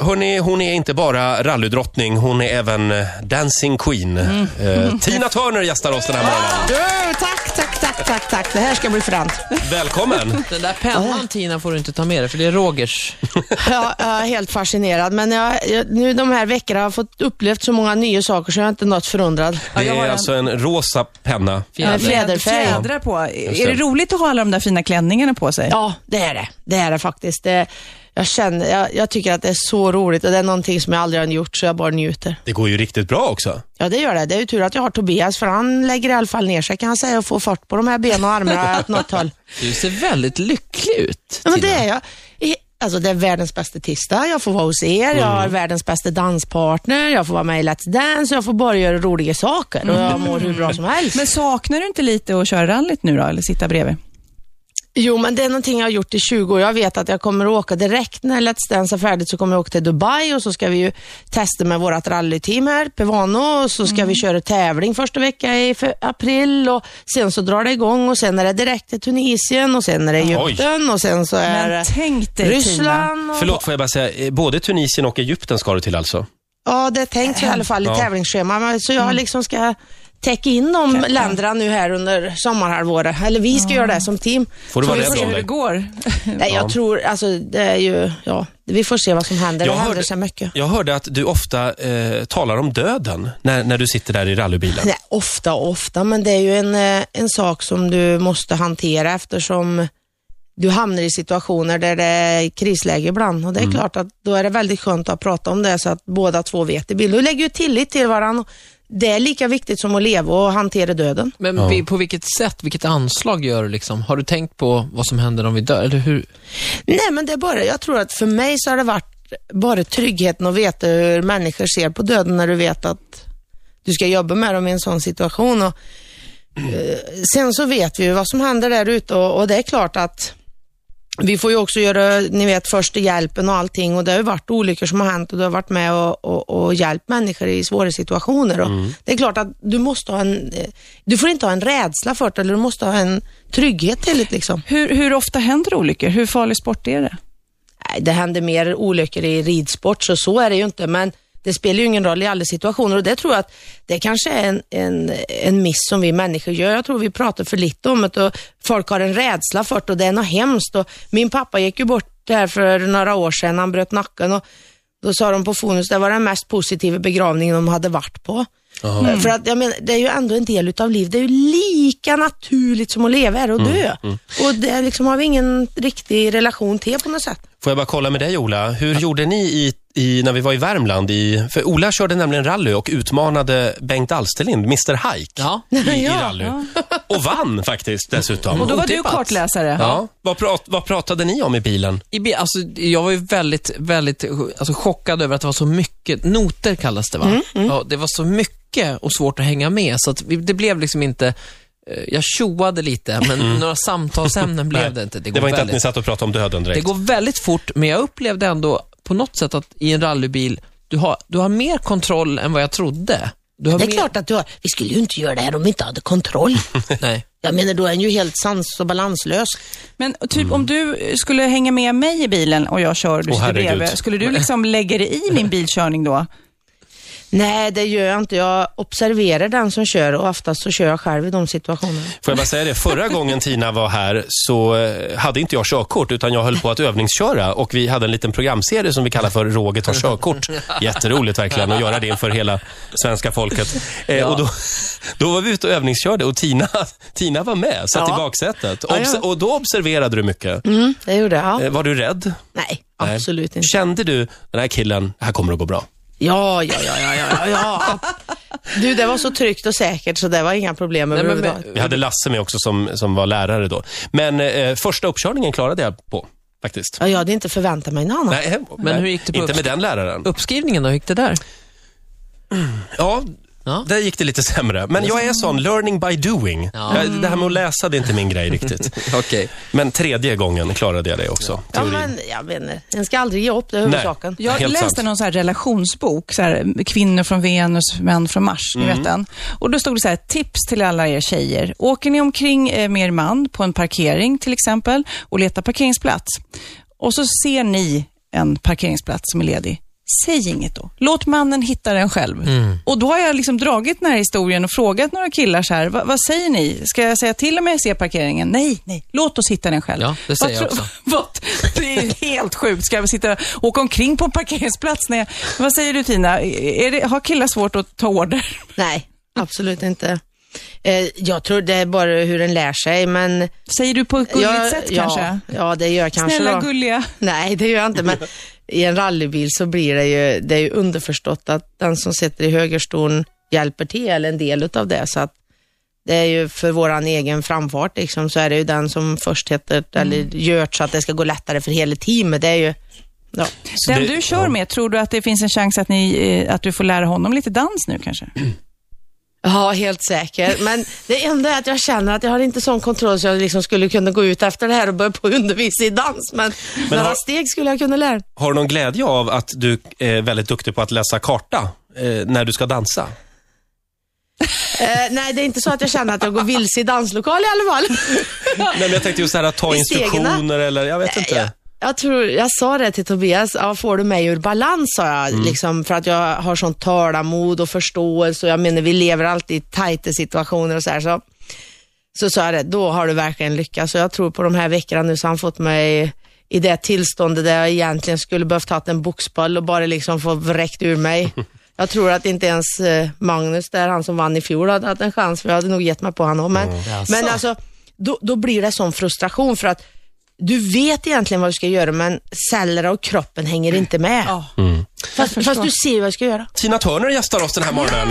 hörni, hon är inte bara rallydrottning, hon är även eh, dancing queen. Mm. Eh, Tina Turner gästar oss den här morgonen. Du, tack, tack, tack, tack, tack. Det här ska bli fränt. Välkommen! Den där pennan Tina får du inte ta med dig för det är Rogers. Jag är helt fascinerad, men jag, jag, nu de här veckorna har jag fått upplevt så många nya saker så jag är inte något förundrad. Det jag har är en- alltså en rosa penna. En fjäderfä. Fjädrar på. det. Är det roligt att ha alla de där fina klänningarna på sig? Ja, det är det. Det är det faktiskt. Det, jag, känner, jag, jag tycker att det är så roligt och det är någonting som jag aldrig har gjort så jag bara njuter. Det går ju riktigt bra också. Ja, det gör det. Det är ju tur att jag har Tobias för han lägger i alla fall ner sig kan jag säga och får fart på de här benen och armarna åt något håll. Du ser väldigt lycklig ut. Ja, men det Tina. är jag. I- Alltså det är världens bästa tisdag, jag får vara hos er, jag har världens bästa danspartner, jag får vara med i Let's Dance, jag får bara göra roliga saker och jag mår hur bra som helst. Men saknar du inte lite att köra rallyt nu då, eller sitta bredvid? Jo, men det är någonting jag har gjort i 20 år. Jag vet att jag kommer att åka direkt när Let's Dance är färdigt så kommer jag åka till Dubai och så ska vi ju testa med vårt rallyteam här, Pevano, och så ska Mm. vi köra tävling första veckan i fe- april och sen så drar det igång och sen är det direkt till Tunisien och sen är det Egypten och sen så är Men det tänk dig Tina. Ryssland. Och... Förlåt, får jag bara säga, eh, både Tunisien och Egypten ska du till alltså? Ja, det är tänkt så i alla fall i Ja. tävlingsschema. Men- Så Mm. jag liksom ska täcka in de länderna nu här under sommarhalvåret. Eller vi ska göra det som team. Får du Så vara vi rädd får se om hur dig? det- går. Nej, jag tror, alltså det är ju, ja, vi får se vad som händer. det händer så mycket. jag hörde att du ofta eh, talar om döden när, när du sitter där i rallybilen. Nej, ofta och ofta, men det är ju en, eh, en sak som du måste hantera eftersom du hamnar i situationer där det är krisläge ibland och det är klart att då är det väldigt skönt att prata om det så att båda två vet det. Du lägger ju tillit till varandra. Det är lika viktigt som att leva och hantera döden. Men vi- på vilket sätt, vilket anslag gör du liksom? Har du tänkt på vad som händer om vi dör? Eller hur? Nej, men det är bara, jag tror att för mig så har det varit bara tryggheten att veta hur människor ser på döden när du vet att du ska jobba med dem i en sån situation. Och, eh, sen så vet vi ju vad som händer där ute och, och det är klart att vi får ju också göra, ni vet, första hjälpen och allting och det har ju varit olyckor som har hänt och du har varit med och, och, och hjälpt människor i svåra situationer. Och Det är klart att du måste ha en, eh, du får inte ha en rädsla för det, eller du måste ha en trygghet till det liksom. Hur, hur ofta händer olyckor? Hur farlig sport är det? Nej, det händer mer olyckor i ridsport, så så är det ju inte. Men det spelar ju ingen roll i alla situationer och det tror jag att det kanske är en, en, en miss som vi människor gör. Jag tror vi pratar för lite om det och folk har en rädsla för det och det är något hemskt. Och min pappa gick ju bort här för några år sedan, han bröt nacken och då sa de på Fonus, det var den mest positiva begravningen de hade varit på. Mm. För att jag menar, det är ju ändå en del utav livet. Det är ju lika naturligt som att leva är att dö. Och det liksom har vi ingen riktig relation till på något sätt. Får jag bara kolla med dig Ola, hur gjorde ni i, i, när vi var i Värmland? I, för Ola körde nämligen rally och utmanade Bengt Alsterlind, Mr Hike, Ja. Mm. i, i rally. Och vann faktiskt dessutom. Och då var du Otippat. kartläsare. Ja. Vad, prat, vad pratade ni om i bilen? I, bi- alltså, jag var ju väldigt, väldigt alltså, chockad över att det var så mycket, noter kallas det va? Mm, Ja, det var så mycket och svårt att hänga med, så att vi, det blev liksom inte, eh, jag tjoade lite, men några samtalsämnen blev det inte. Mm. Det, går var inte att väldigt ni satt och pratade om döden direkt. Det går väldigt fort, men jag upplevde ändå på något sätt att i en rallybil, du har, du har mer kontroll än vad jag trodde. Du har Det är mer, klart att du har. Vi skulle ju inte göra det här om vi inte hade kontroll. Nej. Jag menar, då är en ju helt sans och balanslös. Men typ om du skulle hänga med mig i bilen och jag kör, du Åh, sitter herregud. bredvid. Skulle du liksom lägga dig i min bilkörning då? Nej, det gör jag inte. Jag observerar den som kör och oftast så kör jag själv i de situationerna. Får jag bara säga det, förra gången Tina var här så eh, hade inte jag körkort utan jag höll på att övningsköra och vi hade en liten programserie som vi kallar för Roger tar körkort. Jätteroligt verkligen att göra det inför hela svenska folket. Eh, och då, då var vi ute och övningskörde och Tina, Tina var med, satt i baksätet. Obs- Och då observerade du mycket. Mm, det gjorde jag. Ja. Eh, var du rädd? Nej, Nej. absolut inte. Kände du, den här killen, det här kommer att gå bra? Ja, ja, ja, ja, ja, ja. Du, det var så tryggt och säkert så det var inga problem Nej, men, överhuvudtaget. men, Vi hade Lasse med också som, som var lärare då. Men eh, första uppkörningen klarade jag på, faktiskt. Ja, jag hade inte förväntat mig något annat. Nej, nej, hur gick det på Inte med uppst- den läraren. uppskrivningen då, hur gick det där? Ja, Ja. där gick det lite sämre. Men jag är sån, learning by doing. Ja. Jag, det här med att läsa, det är inte min grej riktigt. Okej. Men tredje gången klarade jag det också. Ja, Teorin. men jag menar, en ska aldrig ge upp, det är huvudsaken. Jag Helt läste sant. någon så här relationsbok, så här, kvinnor från Venus, män från Mars, ni Mm. vet den. Och då stod det så här, tips till alla er tjejer. Åker ni omkring eh, med er man på en parkering till exempel och letar parkeringsplats och så ser ni en parkeringsplats som är ledig. Säg inget då. Låt mannen hitta den själv. Mm. Och då har jag liksom dragit den här historien och frågat några killar så här, "Va- vad säger ni? Ska jag säga till om jag ser parkeringen? Nej, nej, låt oss hitta den själv. Ja, det säger Vad jag tro- också. Vad? Det är helt sjukt. Ska jag sitta och åka omkring på en parkeringsplats? När jag... Vad säger du Tina? Är det... Har killar svårt att ta order? Nej, absolut inte. Eh, jag tror det är bara hur den lär sig, men... Säger du på ett gulligt jag, sätt ja, kanske? Ja, det gör jag kanske Snälla då. gulliga. Nej, det gör jag inte, men i en rallybil så blir det ju, det är ju underförstått att den som sitter i högerstolen hjälper till, eller en del av det. Så att det är ju för våran egen framfart, liksom, så är det ju den som först heter, Mm. eller gör så att det ska gå lättare för hela teamet. Det är ju, ja. Den det- du kör med, tror du att det finns en chans att, ni, eh, att du får lära honom lite dans nu kanske? Ja, helt säker. Men det enda är att jag känner att jag har inte sån kontroll så jag liksom skulle kunna gå ut efter det här och börja på att undervisa i dans. Men, några har- steg skulle jag kunna lära. Har du någon glädje av att du är väldigt duktig på att läsa karta eh, när du ska dansa? Eh, nej, det är inte så att jag känner att jag går vilse i danslokal i alla fall. Nej, men jag tänkte just så här att ta I instruktioner stegen, eller jag vet inte. Jag tror, jag sa det till Tobias, ja, får du mig ur balans sa jag, liksom, för att jag har sån talamod och förståelse och jag menar vi lever alltid i tajta situationer och så här. Så, så sa jag det, då har du verkligen lyckats och jag tror på de här veckorna nu så har han fått mig i det tillståndet där jag egentligen skulle behövt haft en boxboll och bara liksom få vräkt ur mig. Jag tror att inte ens eh, Magnus, där han som vann i fjol, hade haft en chans, för jag hade nog gett mig på honom. Men, men alltså, då, då blir det sån frustration för att du vet egentligen vad du ska göra men cellerna och kroppen hänger inte med. Ja. Fast, fast du ser vad du ska göra. Tina Turner gästar oss den här morgonen.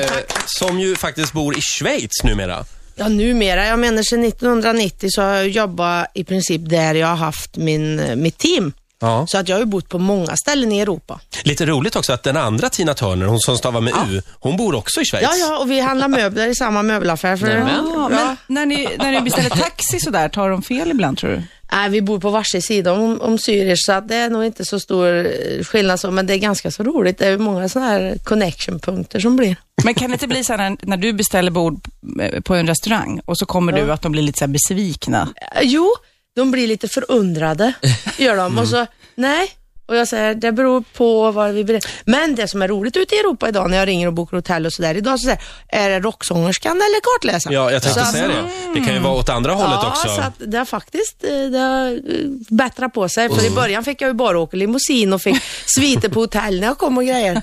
eh, som ju faktiskt bor i Schweiz numera. Ja, numera, jag menar sedan 1990 så har jag jobbat i princip där jag har haft min, mitt team. Ja. Så att jag har ju bott på många ställen i Europa. Lite roligt också att den andra Tina Turner, hon som stavar med U, hon bor också i Schweiz. Ja, ja, och vi handlar möbler i samma möbelaffär. För, Nämen. Ja, men när ni, när ni beställer taxi sådär, tar de fel ibland tror du? Nej, vi bor på varsin sida om, om Zürich, så att det är nog inte så stor eh, skillnad så, men det är ganska så roligt. Det är ju många sådana här connection-punkter som blir. Men kan det inte bli så här när, när du beställer bord eh, på en restaurang och så kommer du att de blir lite så här besvikna? Eh, Jo, de blir lite förundrade, gör de. Och Mm. så, nej. Och jag säger, det beror på vad vi berättar. Men det som är roligt ute i Europa idag när jag ringer och bokar hotell och sådär, idag så säger jag, är det rocksångerskan eller kartläsaren? Ja, jag tänkte Så att- säga det. Det kan ju vara åt andra hållet ja, också. så att det har faktiskt eh, det har eh, bättrat på sig. Mm. För i början fick jag ju bara åka limousin och fick sviter på hotell när jag kom och grejer.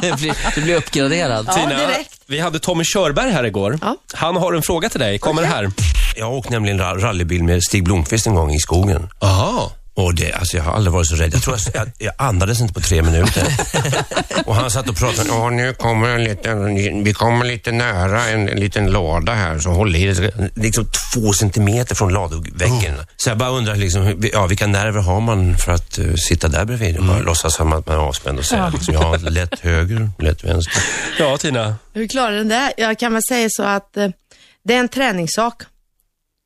du, blir, du blir uppgraderad. Ja, Tina, direkt. vi hade Tommy Körberg här igår. Ja. Han har en fråga till dig. Kommer här. Jag åkte nämligen ra- rallybil med Stig Blomqvist en gång i skogen. Aha. Och det, alltså jag har aldrig varit så rädd. Jag tror jag, jag, jag andades inte på tre minuter. Och han satt och pratade. Ja, nu kommer en liten, vi kommer lite nära en, en liten lada här, så håll i det. Liksom två centimeter från ladugväggen. Så jag bara undrar, liksom, hur- ja, vilka nerver har man för att eh, sitta där bredvid? Och Bara låtsas som att man är avspänd och säga, liksom, ja, lätt höger, lätt vänster. Ja, Tina. Hur klarar den det? Jag kan väl säga så att eh, det är en träningssak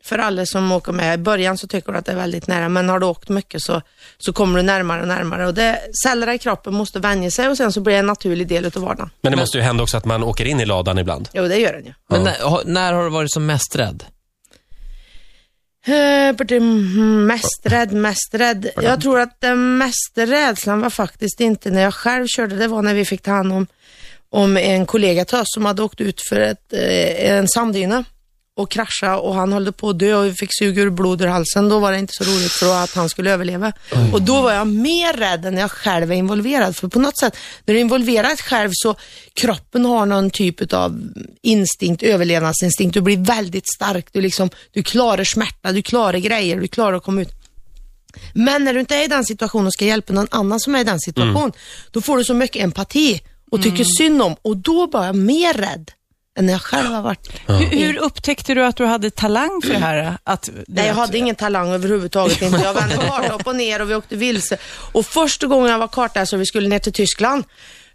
för alla som åker med. I början så tycker du att det är väldigt nära, men har du åkt mycket så, så kommer du närmare och närmare. Och det, cellerna i kroppen måste vänja sig och sen så blir det en naturlig del utav vardagen. Men det måste ju hända också att man åker in i ladan ibland. Jo, det gör den ju. Men när, har- när har du varit som mest rädd? Eh, borde- mm, Mest rädd, mest rädd. Jag tror att den mesta rädslan var faktiskt inte när jag själv körde, det var när vi fick ta hand om, om en kollega till oss som hade åkt ut för ett, eh, en sanddyna och krascha och han höll på att dö och vi fick suga ur blod ur halsen. Då var det inte så roligt för att han skulle överleva. Och då var jag mer rädd än när jag själv är involverad. För på något sätt, när du är involverad själv så kroppen har någon typ av instinkt, överlevnadsinstinkt. Du blir väldigt stark. Du, liksom, du klarar smärta, du klarar grejer, du klarar att komma ut. Men när du inte är i den situationen och ska hjälpa någon annan som är i den situationen, då får du så mycket empati och tycker synd om och då var jag mer rädd än när jag själv har varit. Hur, hur upptäckte du att du hade talang för det här? Att, Nej, jag hade ingen talang överhuvudtaget. Inte. Jag vände karta upp och ner och vi åkte vilse. Och första gången jag var kartläsare så vi skulle ner till Tyskland,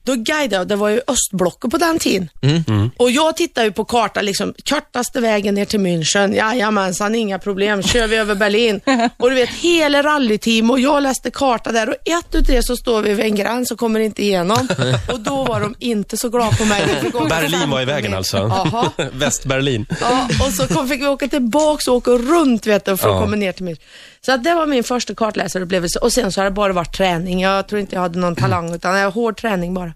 då guidade jag, det var ju östblocket på den tiden. Mm. Och jag tittade ju på kartan, liksom, kortaste vägen ner till München, jajamensan, inga problem, kör vi över Berlin. Och du vet, hela rallyteam och jag läste karta där och ett utav det så står vi vid en gräns och kommer inte igenom. Och då var de inte så glada på mig. Vi fick åka Berlin var i 15 vägen meter. alltså. Jaha. Västberlin. Ja, och så kom, fick vi åka tillbaks och åka runt vet du, för att Ja. komma ner till mig. Så att det var min första kartläsarupplevelse och sen så har det bara varit träning. Jag tror inte jag hade någon talang utan jag har hård träning bara.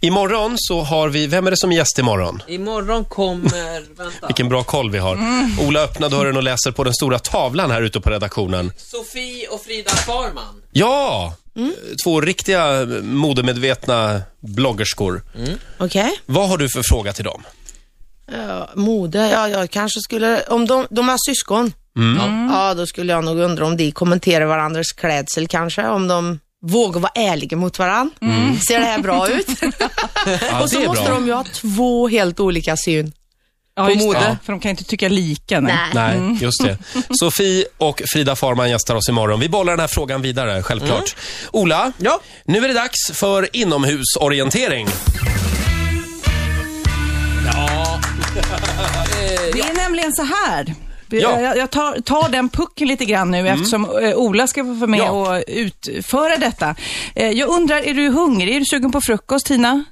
Imorgon så har vi, vem är det som är gäst imorgon? Imorgon kommer... Vänta. Vilken bra koll vi har. Ola öppnar dörren och läser på den stora tavlan här ute på redaktionen. Sofie och Frida Farman. Ja! Två riktiga eh, modemedvetna bloggerskor. Okej? Vad har du för fråga till dem? Ja, mode, ja jag kanske skulle, om de, de har syskon. Mm. Ja, då skulle jag nog undra om de kommenterar varandras klädsel kanske, om de vågar vara ärliga mot varandra. Ser det här bra ut? Mm. Ja, och så måste de ju ha två helt olika syn. Ja, På just det. mode. Ja, För de kan inte tycka lika. Nej. Nej, just det. Sofie och Frida Farman gästar oss imorgon. Vi bollar den här frågan vidare, självklart. Ola, Ja. nu är det dags för inomhusorientering. Det är nämligen så här. Ja. Jag, jag tar, tar den pucken lite grann nu eftersom eh, Ola ska få vara med Ja. och utföra detta. Eh, Jag undrar, är du hungrig? Är du sugen på frukost, Tina?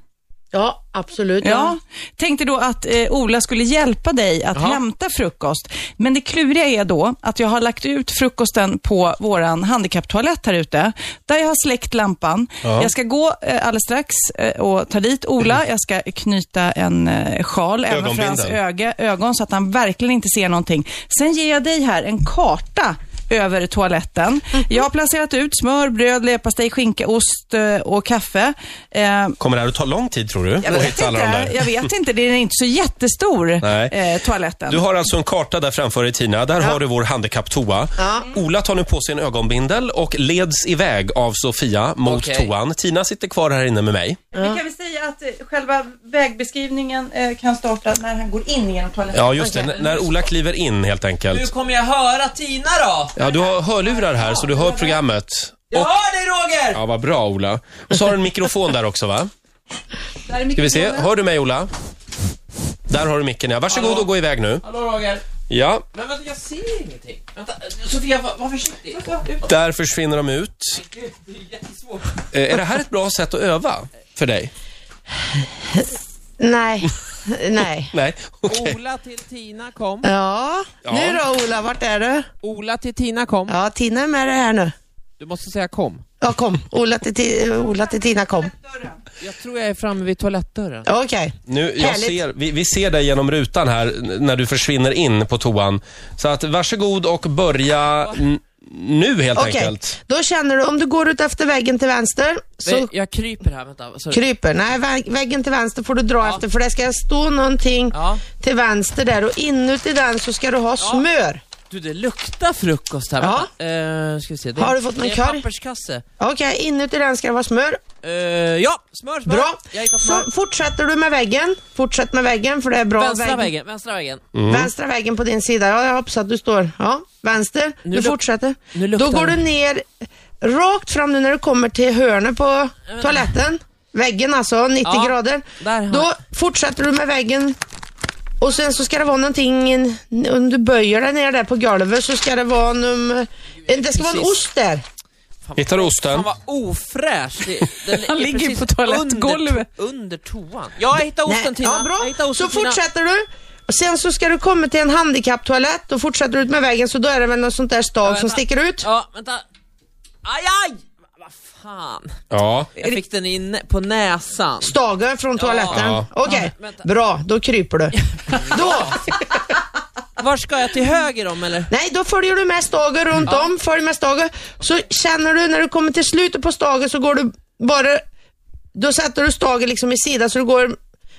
Ja, absolut. Ja. Tänkte då att eh, Ola skulle hjälpa dig att hämta frukost. Men det kluriga är då att jag har lagt ut frukosten på våran handikapptoalett här ute. Där jag har släckt lampan. Jag ska gå eh, alldeles strax eh, och ta dit Ola. Jag ska knyta en eh, sjal även för hans Ögonbindeln. öga, ögon så att han verkligen inte ser någonting. Sen ger jag dig här en karta över toaletten. Jag har placerat ut smör, bröd, leverpastej, skinka, ost eh, och kaffe. Eh, Kommer det här att ta lång tid, tror du? jag att vet, hitta alla de inte, där? jag vet inte, det är inte så jättestor Nej. eh, toaletten. Du har alltså en karta där framför dig Tina. Där har du vår handikapptoa. Ja. Ola tar nu på sig en ögonbindel och leds iväg av Sofia mot Okej. toan. Tina sitter kvar här inne med mig. Vi kan väl säga att eh, själva vägbeskrivningen eh, kan starta när han går in genom toaletten. Ja, just det. N- När Ola kliver in helt Nu enkelt. kommer jag höra Tina då. Ja, du har hörlurar här så du hör programmet. Jag hör dig Roger! Ja, vad bra Ola. Och så har du en mikrofon där också va? Där är Ska vi se, hör du mig Ola? Där har du micken ja. Varsågod och gå iväg nu. Hallå Roger. Ja, Men vänta, jag ser ingenting. Vänta, Sofia, var, var försiktig. där försvinner de ut. Det är jättesvårt. Eh, Är det här ett bra sätt att öva för dig? Nej, nej. Nej, okej. Ola till Tina kom. Ja. nu då Ola, vart är du? Ola till Tina kom. Ja, Tina är med dig här nu. Du måste säga kom. Ja, kom. Ola till, Ti- Ola till Tina, kom. Jag tror jag är framme vid toalettdörren. Okej. Nu, jag Härligt. ser, vi, vi ser dig genom rutan här n- när du försvinner in på toan. Så att varsågod och börja n- nu helt Okej, enkelt. då känner du, om du går ut efter väggen till vänster, så Nej, Jag kryper här, vänta. Sorry. kryper. Nej, vä- väggen till vänster får du dra efter, för det ska stå någonting Ja. till vänster där och inuti den så ska du ha smör. Du, det luktar frukost här. Ja. Vänta. Eh, ska vi se. Det, Har du fått någon Det är korg? papperskasse. Okej, inuti den ska det vara smör. Eh, ja, smör, smör. Bra. Jag hittar smör. Så fortsätter du med väggen. Fortsätt med väggen, för det är bra. Vänstra väggen. vänstra väggen. Mm. Vänstra väggen på din sida. Ja, jag hoppas att du står. Ja, vänster. Nu du luk- fortsätter. nu luktar Då går det. du ner rakt fram nu när du kommer till hörnet på toaletten. Väggen alltså, 90 Ja, grader. där har- Då fortsätter du med väggen. Och sen så ska det vara någonting, en- om du böjer dig ner där på golvet så ska det vara en, en det ska vara en Precis. ost där. Hittar du osten? Han var ofräsch. Det, den Han ligger precis på toalettgolvet. Under, under toan. Ja, jag hittade osten Tina. Ja, Jag bra. hittade Så osten, Tina. fortsätter du. Och Sen så ska du komma till en handikapptoalett och fortsätter du ut med vägen så då är det väl något sånt där stag vänta. som sticker ut. Ja, vänta. Aj, aj! Vad fan. Ja. Jag fick den inne på näsan. Stagen från toaletten? Ja. Okej, Ja, vänta. bra. Då kryper du. då, Var ska jag? Till höger om eller? nej, då följer du med stagen runt om, följ med stagen. Så känner du när du kommer till slutet på stagen så går du bara, då sätter du stagen liksom i sidan så du går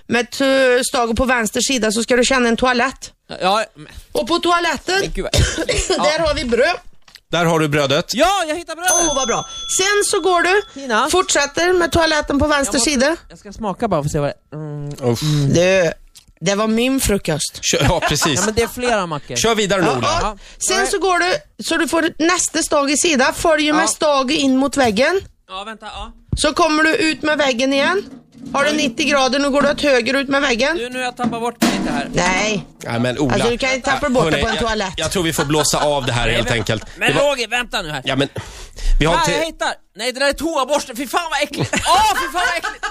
med t- stagen på vänster sida så ska du känna en toalett. Ja, men Och på toaletten, gud vad äckligt. där har vi bröd. Där har du brödet. Ja, jag hittade brödet! Åh, vad bra. Sen så går du, Tina. fortsätter med toaletten på vänster sida. Jag ska smaka bara för att se vad det är. Mm. Uff. Du, det var min frukost. Kör, ja, precis. Ja, men det är flera mackor. Kör vidare nu Ola. Ja. Sen så går du, så du får nästa stag i sida, följer med stag in mot väggen. Ja, vänta. Ja. Så kommer du ut med väggen igen. Har Mm. du 90 grader, nu går du åt höger ut med väggen. Du, nu har jag tappat bort mig lite här. Nej, Nej, men Ola. alltså du kan inte tappa bort det Hörrni, på en jag- toalett. Jag tror vi får blåsa av det här helt enkelt. Det Men var, Roger, vänta nu här. ja, men, vi har Här, jag inte, hittar! Nej, det där är toaborsten. Fy fan vad äckligt! Åh, fy fan vad äckligt!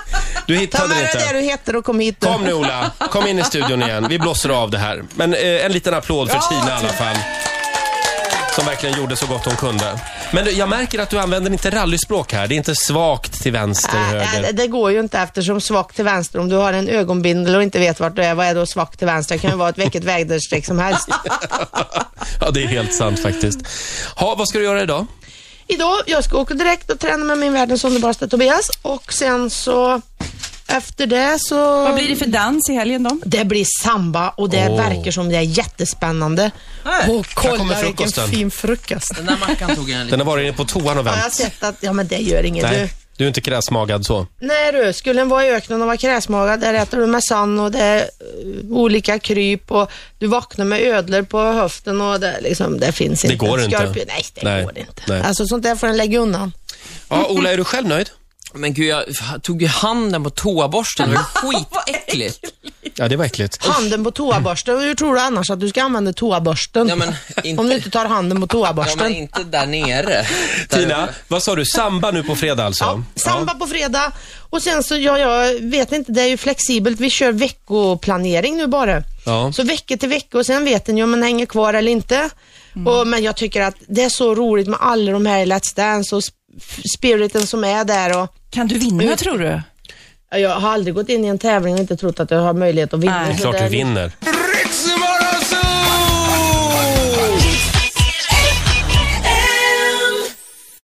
du Ta hittade med det dig det inte. du heter och kom hit Äh, nu. Kom nu Ola, kom in i studion igen. Vi blåser av det här. Men eh, en liten applåd för Tina i alla fall. som verkligen gjorde så gott hon kunde. Men du, jag märker att du använder inte rallyspråk här. Det är inte svagt till vänster, Nej, höger. äh, det- det går ju inte eftersom svagt till vänster, om du har en ögonbindel och inte vet vart du är, vad är då svagt till vänster? Det kan ju vara ett vilket väderstreck som helst. Ja, det är helt sant faktiskt. Ha, vad ska du göra idag? Idag, jag ska åka direkt och träna med min världens underbaraste Tobias och sen så efter det så... Vad blir det för dans i helgen då? Det blir samba och det Åh. verkar som det är jättespännande. Nej. Och kolla kommer vilken frukosten. fin frukost. Den där mackan tog jag en Den liten... har varit inne på toan och Ja, jag har vänt. sett att, ja men det gör inget. Du, Nej, du är inte kräsmagad så. Nej du, skulle en vara i öknen och vara kräsmagad, där äter du mesann och det är eh, olika kryp och du vaknar med ödlor på höften och det, liksom, det finns inte. går inte. Skorpion- Nej, det Nej. går inte. Nej. Alltså sånt där får en lägga undan. Ja, Ola, är du själv nöjd? Men gud, jag tog ju handen på toaborsten. Det var ju skitäckligt. Ja, det var äckligt. Handen på toaborsten, hur tror du annars att du ska använda toaborsten? Ja, men inte- Om du inte tar handen på Ja, men toaborsten. inte där nere. Där Tina, vad sa du? Samba nu på fredag alltså? Ja, samba på fredag och sen så, ja, jag vet inte, det är ju flexibelt. Vi kör veckoplanering nu bara. Ja. Så vecka till vecka och sen vet en ju om man hänger kvar eller inte. Och, men jag tycker att det är så roligt med alla de här i Let's Dance och sp- spiriten som är där. Och, Kan du Eh, vinna tror du? ja, jag har aldrig gått in i en tävling och inte trott att jag har möjlighet att vinna. Nej. Det är Så klart det du är- vinner.